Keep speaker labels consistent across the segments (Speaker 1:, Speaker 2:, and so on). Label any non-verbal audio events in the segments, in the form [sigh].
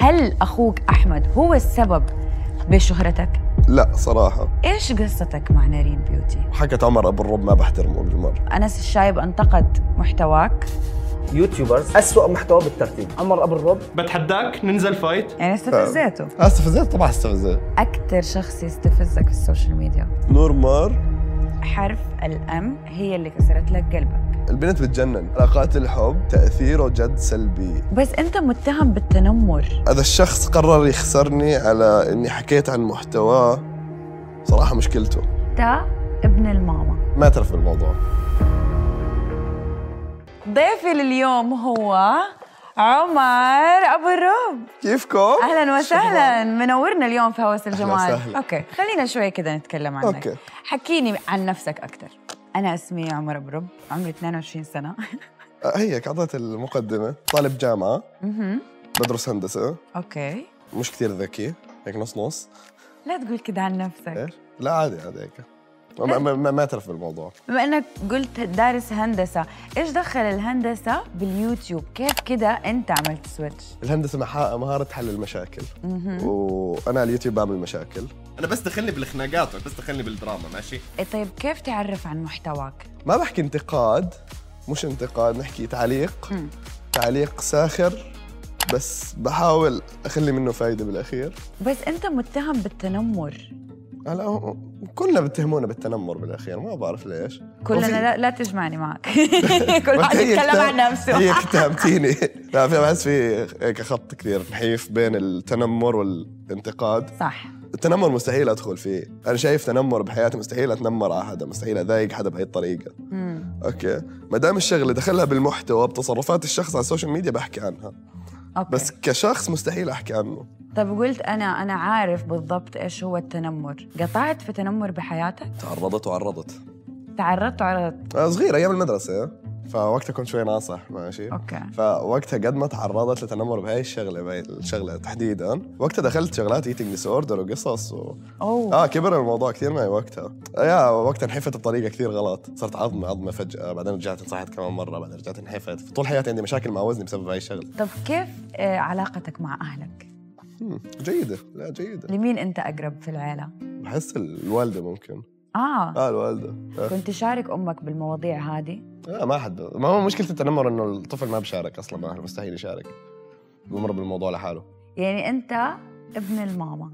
Speaker 1: هل اخوك احمد هو السبب بشهرتك؟
Speaker 2: لا صراحة
Speaker 1: ايش قصتك مع نارين بيوتي؟
Speaker 2: حكت عمر أبو الرب ما بحترمه بالمرة
Speaker 1: انس الشايب انتقد محتواك
Speaker 3: يوتيوبرز أسوأ محتوى بالترتيب عمر أبو الرب
Speaker 4: بتحداك ننزل فايت
Speaker 1: يعني استفزيته
Speaker 2: استفزت طبعا استفزت
Speaker 1: اكثر شخص يستفزك في السوشيال ميديا
Speaker 2: نور مار
Speaker 1: حرف الام هي اللي كسرت لك قلبك
Speaker 2: البنت بتجنن علاقات الحب تأثيره جد سلبي
Speaker 1: بس انت متهم بالتنمر
Speaker 2: هذا الشخص قرر يخسرني على إني حكيت عن محتواه صراحة مشكلته
Speaker 1: انت ابن الماما
Speaker 2: ما اعترف بالموضوع
Speaker 1: ضيفي لليوم هو عمر ابو الروب
Speaker 2: كيفكم؟
Speaker 1: اهلا وسهلا منورنا اليوم في هوس الجمال
Speaker 2: وسهلا.
Speaker 1: اوكي خلينا شوي كده نتكلم عنك
Speaker 2: أوكي.
Speaker 1: حكيني عن نفسك اكثر انا اسمي عمر ابو الروب عمري 22 [laughs] سنه
Speaker 2: آه، هيك أعطيت المقدمة طالب جامعة
Speaker 1: مهم.
Speaker 2: بدرس هندسة
Speaker 1: اوكي
Speaker 2: مش كثير ذكي هيك نص نص
Speaker 1: لا تقول كده عن نفسك
Speaker 2: ايش؟ لا عادي عادي هيك ما ما- ما ما اعترف بالموضوع
Speaker 1: بما انك قلت دارس هندسه ايش دخل الهندسه باليوتيوب كيف كده انت عملت سويتش
Speaker 2: الهندسه مح- مهاره حل المشاكل وانا على اليوتيوب بعمل مشاكل
Speaker 4: انا بس دخلني بالخناقات بس دخلني بالدراما ماشي
Speaker 1: إيه طيب كيف تعرف عن محتواك
Speaker 2: ما بحكي انتقاد مش انتقاد نحكي تعليق
Speaker 1: مم.
Speaker 2: تعليق ساخر بس بحاول اخلي منه فايده بالاخير
Speaker 1: بس انت متهم بالتنمر
Speaker 2: هلا هو- كلنا بتهمونا بالتنمر بالاخير ما بعرف ليش
Speaker 1: كلنا
Speaker 2: وفي-
Speaker 1: لا, لا تجمعني معك [laughs] كل
Speaker 2: بس
Speaker 1: واحد
Speaker 2: هي
Speaker 1: يتكلم
Speaker 2: كتاب-
Speaker 1: عن نفسه
Speaker 2: هي كتابتيني [laughs] لا في بحس في هيك خط كثير نحيف بين التنمر والانتقاد
Speaker 1: صح
Speaker 2: التنمر مستحيل ادخل فيه انا شايف تنمر بحياتي مستحيل اتنمر على حدا مستحيل اضايق حدا بهي الطريقه
Speaker 1: مم.
Speaker 2: اوكي ما دام الشغله دخلها بالمحتوى بتصرفات الشخص على السوشيال ميديا بحكي عنها
Speaker 1: أوكي.
Speaker 2: بس كشخص مستحيل احكي عنه
Speaker 1: طب قلت انا انا عارف بالضبط ايش هو التنمر قطعت في تنمر بحياتك
Speaker 2: تعرضت وعرضت
Speaker 1: تعرضت وعرضت
Speaker 2: أنا آه، صغير ايام المدرسه فوقتها كنت شوي ناصح ماشي
Speaker 1: اوكي
Speaker 2: فوقتها قد ما تعرضت لتنمر بهاي الشغله بهاي الشغله تحديدا وقتها دخلت شغلات ايتنج ديس اوردر وقصص و...
Speaker 1: اوه
Speaker 2: اه كبر الموضوع كثير معي وقتها يا وقتها انحفت بطريقه كثير غلط صرت عظمه عظمه فجاه بعدين رجعت انصحت كمان مره بعدين رجعت انحفت طول حياتي عندي مشاكل مع وزني بسبب هاي الشغله
Speaker 1: طب كيف آه، علاقتك مع اهلك
Speaker 2: مم، جيده لا جيده
Speaker 1: لمين انت اقرب في العيله
Speaker 2: بحس الوالده ممكن
Speaker 1: اه
Speaker 2: اه الوالده آه.
Speaker 1: كنت تشارك امك بالمواضيع هذه
Speaker 2: لا آه، ما حد ما هو مشكله التنمر انه الطفل ما بشارك اصلا مع اهله مستحيل يشارك بمر بالموضوع لحاله
Speaker 1: يعني انت ابن الماما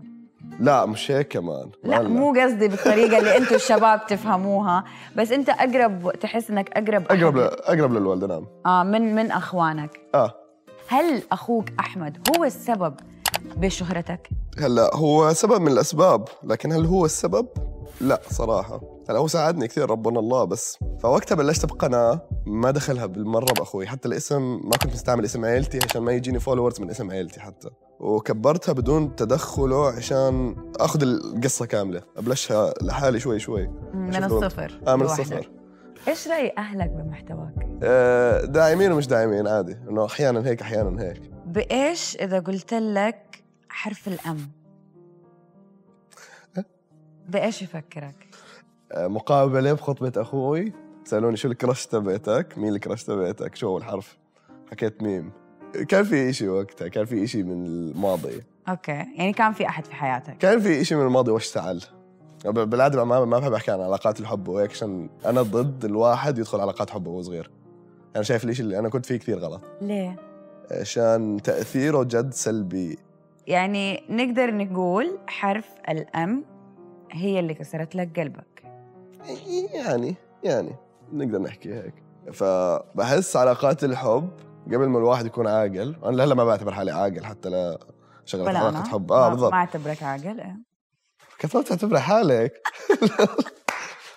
Speaker 2: لا مش هيك كمان
Speaker 1: لا
Speaker 2: والله.
Speaker 1: مو قصدي بالطريقه اللي انتم الشباب تفهموها بس انت اقرب تحس انك اقرب أحد-
Speaker 2: اقرب ل... اقرب للوالده نعم
Speaker 1: اه من من اخوانك
Speaker 2: اه
Speaker 1: هل اخوك احمد هو السبب بشهرتك
Speaker 2: هلا هو سبب من الاسباب لكن هل هو السبب لا صراحه هلا هو ساعدني كثير ربنا الله بس فوقتها بلشت بقناه ما دخلها بالمره باخوي حتى الاسم ما كنت مستعمل اسم عيلتي عشان ما يجيني فولورز من اسم عيلتي حتى وكبرتها بدون تدخله عشان اخذ القصه كامله ابلشها لحالي شوي شوي
Speaker 1: من
Speaker 2: شوف دول.
Speaker 1: الصفر
Speaker 2: آه من
Speaker 1: لوحدك.
Speaker 2: الصفر
Speaker 1: ايش راي اهلك بمحتواك
Speaker 2: آه، داعمين ومش داعمين عادي انه احيانا هيك احيانا هيك
Speaker 1: بايش اذا قلت لك حرف الام بايش يفكرك
Speaker 2: آه، مقابله بخطبه اخوي سالوني شو الكراش تبعتك مين الكراش تبعتك شو اول حرف حكيت ميم كان في إشي وقتها كان في إشي من الماضي
Speaker 1: اوكي يعني كان في احد في حياتك
Speaker 2: كان في إشي من الماضي واشتعل ب- بالعاده ما ما بحب احكي عن علاقات الحب وهيك عشان انا ضد الواحد يدخل علاقات حب وهو صغير انا شايف الإشي اللي انا كنت فيه كثير غلط
Speaker 1: ليه
Speaker 2: عشان تاثيره جد سلبي
Speaker 1: يعني نقدر نقول حرف الام هي اللي كسرت لك قلبك
Speaker 2: يعني يعني نقدر نحكي هيك فبحس علاقات الحب قبل ما الواحد يكون عاقل انا لهلا ما بعتبر حالي عاقل حتى لا شغلة
Speaker 1: ولا
Speaker 2: علاقة
Speaker 1: انا
Speaker 2: حب
Speaker 1: ما-
Speaker 2: اه
Speaker 1: ما
Speaker 2: بالضبط
Speaker 1: اعتبرك عاقل إيه.
Speaker 2: كيف ما بتعتبري حالك [laughs]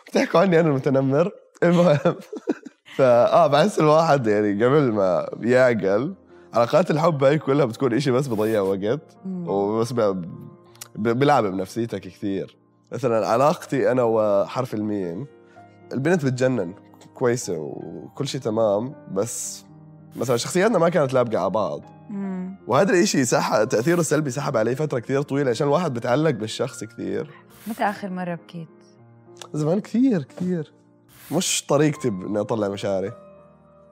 Speaker 2: بتحكوا عني انا المتنمر المهم [laughs] فاه بحس الواحد يعني قبل ما يعقل علاقات الحب هاي كلها بتكون إشي بس بضيع وقت
Speaker 1: مم.
Speaker 2: وبس ب- ب- بلعب بنفسيتك كثير مثلا علاقتي انا وحرف الميم البنت بتجنن كويسه وكل شيء تمام بس مثلا شخصياتنا ما كانت لابقه على بعض
Speaker 1: مم.
Speaker 2: وهذا الشيء سح تاثيره السلبي سحب علي فتره كثير طويله عشان الواحد بتعلق بالشخص كثير
Speaker 1: متى اخر مره بكيت
Speaker 2: زمان كثير كثير مش طريقتي باني اطلع مشاعري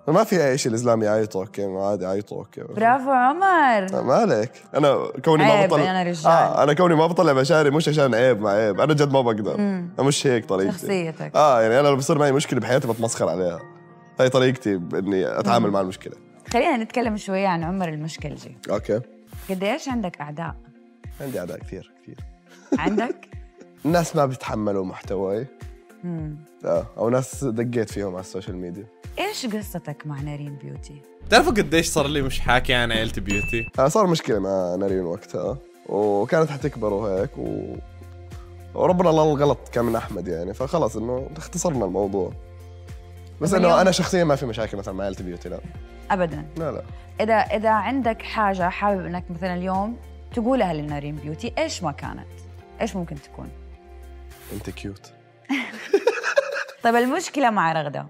Speaker 2: ما في اي شيء الزلام يعيطوا اوكي يعني عادي يعيطوا اوكي
Speaker 1: برافو عمر
Speaker 2: مالك انا كوني ما
Speaker 1: عيب،
Speaker 2: بطلع
Speaker 1: أنا رجال.
Speaker 2: اه انا كوني ما بطلع مشاعري مش عشان عيب مع عيب انا جد ما بقدر انا مش هيك طريقتي
Speaker 1: شخصيتك.
Speaker 2: اه يعني انا لو بصير معي مشكله بحياتي بتمسخر عليها هاي طريقتي باني اتعامل مع المشكله
Speaker 1: خلينا نتكلم شوية عن عمر المشكلجي
Speaker 2: اوكي
Speaker 1: قديش عندك أعداء؟
Speaker 2: عندي اعداء كثير كثير
Speaker 1: عندك؟
Speaker 2: [laughs] الناس ما بيتحملوا محتواي
Speaker 1: مم.
Speaker 2: اه او ناس دقيت فيهم على السوشيال ميديا
Speaker 1: إيش قصتك مع نارين بيوتي؟
Speaker 5: تعرفوا قديش صار لي مش حاكي عن عيلتي بيوتي؟
Speaker 2: آه صار مشكله مع نارين وقتها وكانت حتكبر وهيك و... وربنا الله الغلط كان من احمد يعني فخلص انه اختصرنا الموضوع بس
Speaker 1: طب
Speaker 2: انه
Speaker 1: اليوم-
Speaker 2: انا شخصيا ما في مشاكل مثلا مع عيلتي بيوتي لا
Speaker 1: أبداً
Speaker 2: لا لا
Speaker 1: إذا إذا عندك حاجة حابب إنك مثلا اليوم تقولها للنارين بيوتي إيش ما كانت؟ إيش ممكن تكون؟
Speaker 2: انت كيوت
Speaker 1: طيب المشكلة مع رغدة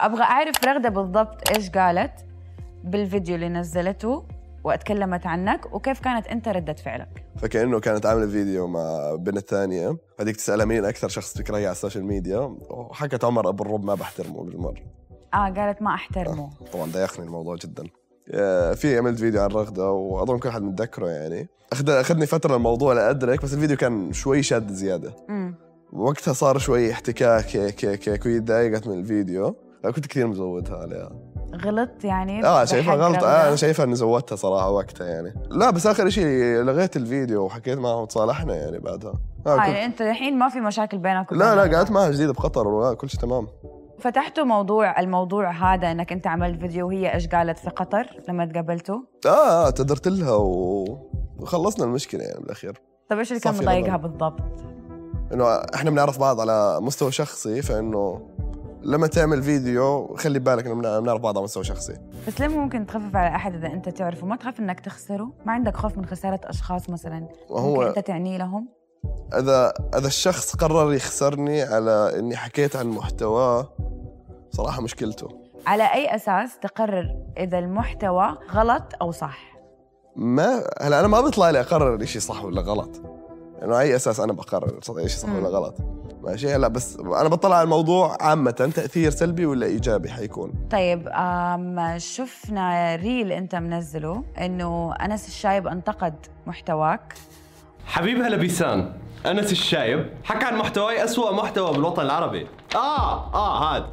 Speaker 1: أبغى أعرف رغدة بالضبط إيش قالت بالفيديو اللي نزلته واتكلمت عنك وكيف كانت أنت ردة فعلك
Speaker 2: فكانه كانت عامله فيديو مع بنت ثانيه هذيك تسالها مين اكثر شخص تكرهه على السوشيال ميديا وحكت عمر ابو الرب ما بحترمه بالمره
Speaker 1: آه قالت ما أحترمه
Speaker 2: طبعا ضايقني الموضوع جدا آه، في عملت فيديو عن رغده واظن كل حد متذكره يعني أخد اخذني فتره الموضوع لادرك بس الفيديو كان شوي شاد زياده
Speaker 1: مم.
Speaker 2: وقتها صار شوي احتكاك هيك هيك هيك وهي تضايقت من الفيديو أنا كنت كثير مزودها عليها
Speaker 1: غلطت يعني
Speaker 2: اه شايفها
Speaker 1: بحق
Speaker 2: غلط
Speaker 1: رغدة؟
Speaker 2: آه انا شايفها اني زودتها صراحه وقتها يعني لا بس اخر شيء لغيت الفيديو وحكيت معها وتصالحنا يعني بعدها آه
Speaker 1: آه
Speaker 2: كنت-
Speaker 1: يعني انت الحين ما في مشاكل بينك
Speaker 2: لا
Speaker 1: وبينها.
Speaker 2: لا قعدت معها جديد بقطر وكل شيء تمام
Speaker 1: فتحتوا موضوع الموضوع هذا انك انت عملت فيديو وهي ايش قالت في قطر لما تقابلتوا
Speaker 2: اه آه، اعتذرت لها و... وخلصنا المشكله يعني بالاخير
Speaker 1: طيب ايش اللي كان
Speaker 2: صافي
Speaker 1: مضايقها
Speaker 2: لبن.
Speaker 1: بالضبط
Speaker 2: انه احنا بنعرف بعض على مستوى شخصي فانه لما تعمل فيديو خلي بالك انه بنع- بنعرف بعض على مستوى شخصي
Speaker 1: بس ليه ممكن تخفف على احد اذا انت تعرفه ما تخاف انك تخسره ما عندك خوف من خساره اشخاص مثلا ممكن
Speaker 2: وهو
Speaker 1: انت تعني لهم
Speaker 2: اذا اذا الشخص قرر يخسرني على اني حكيت عن محتواه صراحه مشكلته
Speaker 1: على اي اساس تقرر اذا المحتوى غلط او صح
Speaker 2: ما هلا انا ما بيطلع لي اقرر شيء صح ولا غلط يعني انه اي اساس انا بقرر شيء صح ولا
Speaker 1: مم.
Speaker 2: غلط ماشي هلا بس انا بطلع على الموضوع عامه تاثير سلبي ولا ايجابي حيكون
Speaker 1: طيب آم شفنا ريل انت منزله انه انس الشايب انتقد محتواك
Speaker 4: حبيب هلا بيسان انس الشايب حكى عن محتواي أسوأ محتوى بالوطن العربي اه اه هاد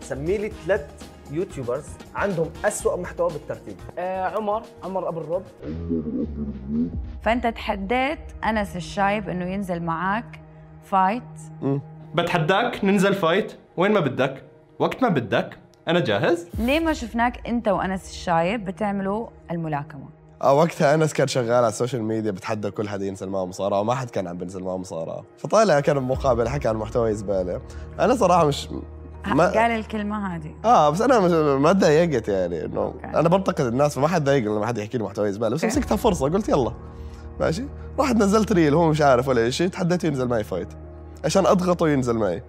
Speaker 3: سمي لي ثلاث يوتيوبرز عندهم أسوأ محتوى بالترتيب آه عمر عمر ابو الرب
Speaker 1: فانت تحديت انس الشايب انه ينزل معاك فايت
Speaker 4: بتحداك ننزل فايت وين ما بدك وقت ما بدك انا جاهز
Speaker 1: ليه ما شفناك انت وانس الشايب بتعملوا الملاكمه
Speaker 2: اه وقتها انس كان شغال على السوشيال ميديا بتحدى كل حد ينزل معه مصارعه وما حد كان عم بينزل معه مصارعه فطالع كان بمقابله حكى عن محتوى زباله انا صراحه مش
Speaker 1: ما...
Speaker 2: ما
Speaker 1: قال الكلمه هذه
Speaker 2: اه بس انا مش ما تضايقت يعني انه
Speaker 1: أوكي.
Speaker 2: انا بنتقد الناس فما حد ضايق لما حد يحكي لي محتوى زباله بس
Speaker 1: أوكي.
Speaker 2: مسكتها فرصه قلت يلا ماشي رحت نزلت ريل هو مش عارف ولا شيء تحديته ينزل معي فايت عشان اضغطه ينزل معي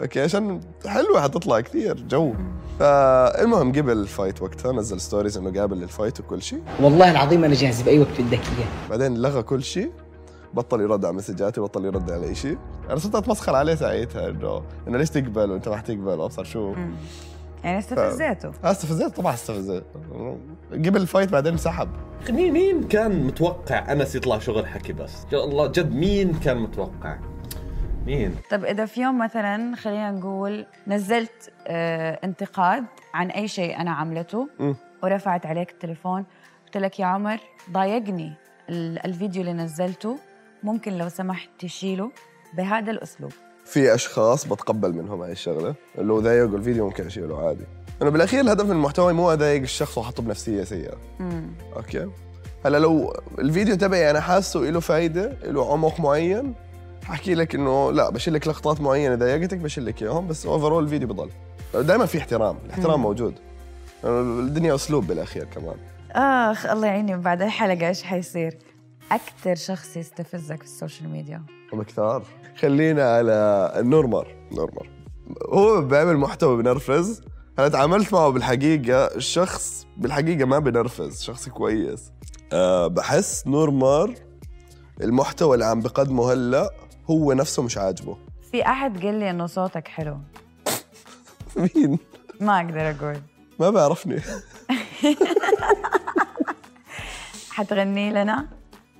Speaker 2: اوكي عشان حلوه حتطلع كثير جو فالمهم قبل الفايت وقتها نزل ستوريز انه قابل للفايت وكل شيء
Speaker 6: والله العظيم انا جاهز باي وقت بدك اياه
Speaker 2: بعدين لغى كل شيء بطل يرد على مسجاتي بطل يرد على شيء انا صرت اتمسخر عليه ساعتها انه انه ليش تقبل وانت ما حتقبل وابصر شو
Speaker 1: مم. يعني استفزيته
Speaker 2: استفزيت طبعا استفزيت قبل الفايت بعدين انسحب
Speaker 7: مين مين كان متوقع انس يطلع شغل حكي بس؟ يا الله جد مين كان متوقع؟ مين؟
Speaker 1: طب اذا طيب، في يوم مثلا خلينا نقول نزلت آه انتقاد عن اي شيء انا عملته
Speaker 2: مم.
Speaker 1: ورفعت عليك التليفون قلت لك يا عمر ضايقني ال- الفيديو اللي نزلته ممكن لو سمحت تشيله بهذا الاسلوب
Speaker 2: في اشخاص بتقبل منهم هاي الشغله لو ضايقوا الفيديو ممكن اشيله عادي انه بالاخير الهدف من المحتوى مو اضايق الشخص واحطه بنفسيه سيئه
Speaker 1: مم.
Speaker 2: اوكي هلا لو الفيديو تبعي انا حاسه له فايده له عمق معين حكي لك انه لا بشيل لك لقطات معينه ضايقتك بشيل لك اياهم بس اوفرول الفيديو بضل دائما في احترام الاحترام موجود الدنيا اسلوب بالاخير كمان
Speaker 1: اخ الله يعيني بعد الحلقه ايش حيصير اكثر شخص يستفزك في السوشيال ميديا
Speaker 2: هم كثار خلينا على النورمر نورمر هو بيعمل محتوى بنرفز انا تعاملت معه بالحقيقه الشخص بالحقيقه ما بنرفز شخص كويس أه بحس نورمر المحتوى اللي عم بقدمه هلا هو نفسه مش عاجبه [laughs]
Speaker 1: في احد قال لي انه صوتك حلو
Speaker 2: مين
Speaker 1: ما اقدر اقول
Speaker 2: ما بعرفني
Speaker 1: حتغني لنا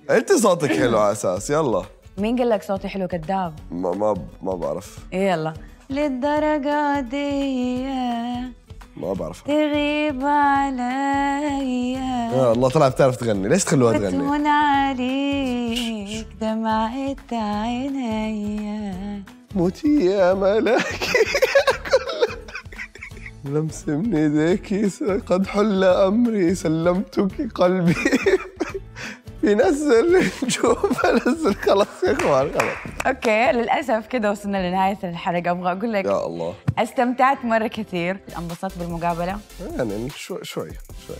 Speaker 2: انت صوتك حلو على اساس يلا
Speaker 1: مين قال لك صوتي حلو كذاب
Speaker 2: ما ما ما بعرف
Speaker 1: يلا للدرجة دي
Speaker 2: ما
Speaker 1: [laughs]
Speaker 2: بعرف
Speaker 1: تغيب عليا
Speaker 2: يا الله طلع بتعرف تغني ليش تخلوها تغني
Speaker 1: بتهون عليك دمعة عينيا
Speaker 2: موتي يا ملاكي كل لمس من ايديك قد حل امري سلمتك قلبي بنزل نشوف نزل خلاص يا اخوان خلاص
Speaker 1: اوكي للاسف كده وصلنا لنهاية الحلقة ابغى اقول لك
Speaker 2: يا الله
Speaker 1: استمتعت مرة كثير انبسطت بالمقابلة
Speaker 2: يعني شوي شوي شوي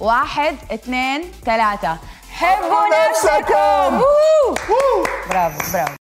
Speaker 1: واحد اثنين ثلاثة حبوا نفسكم برافو برافو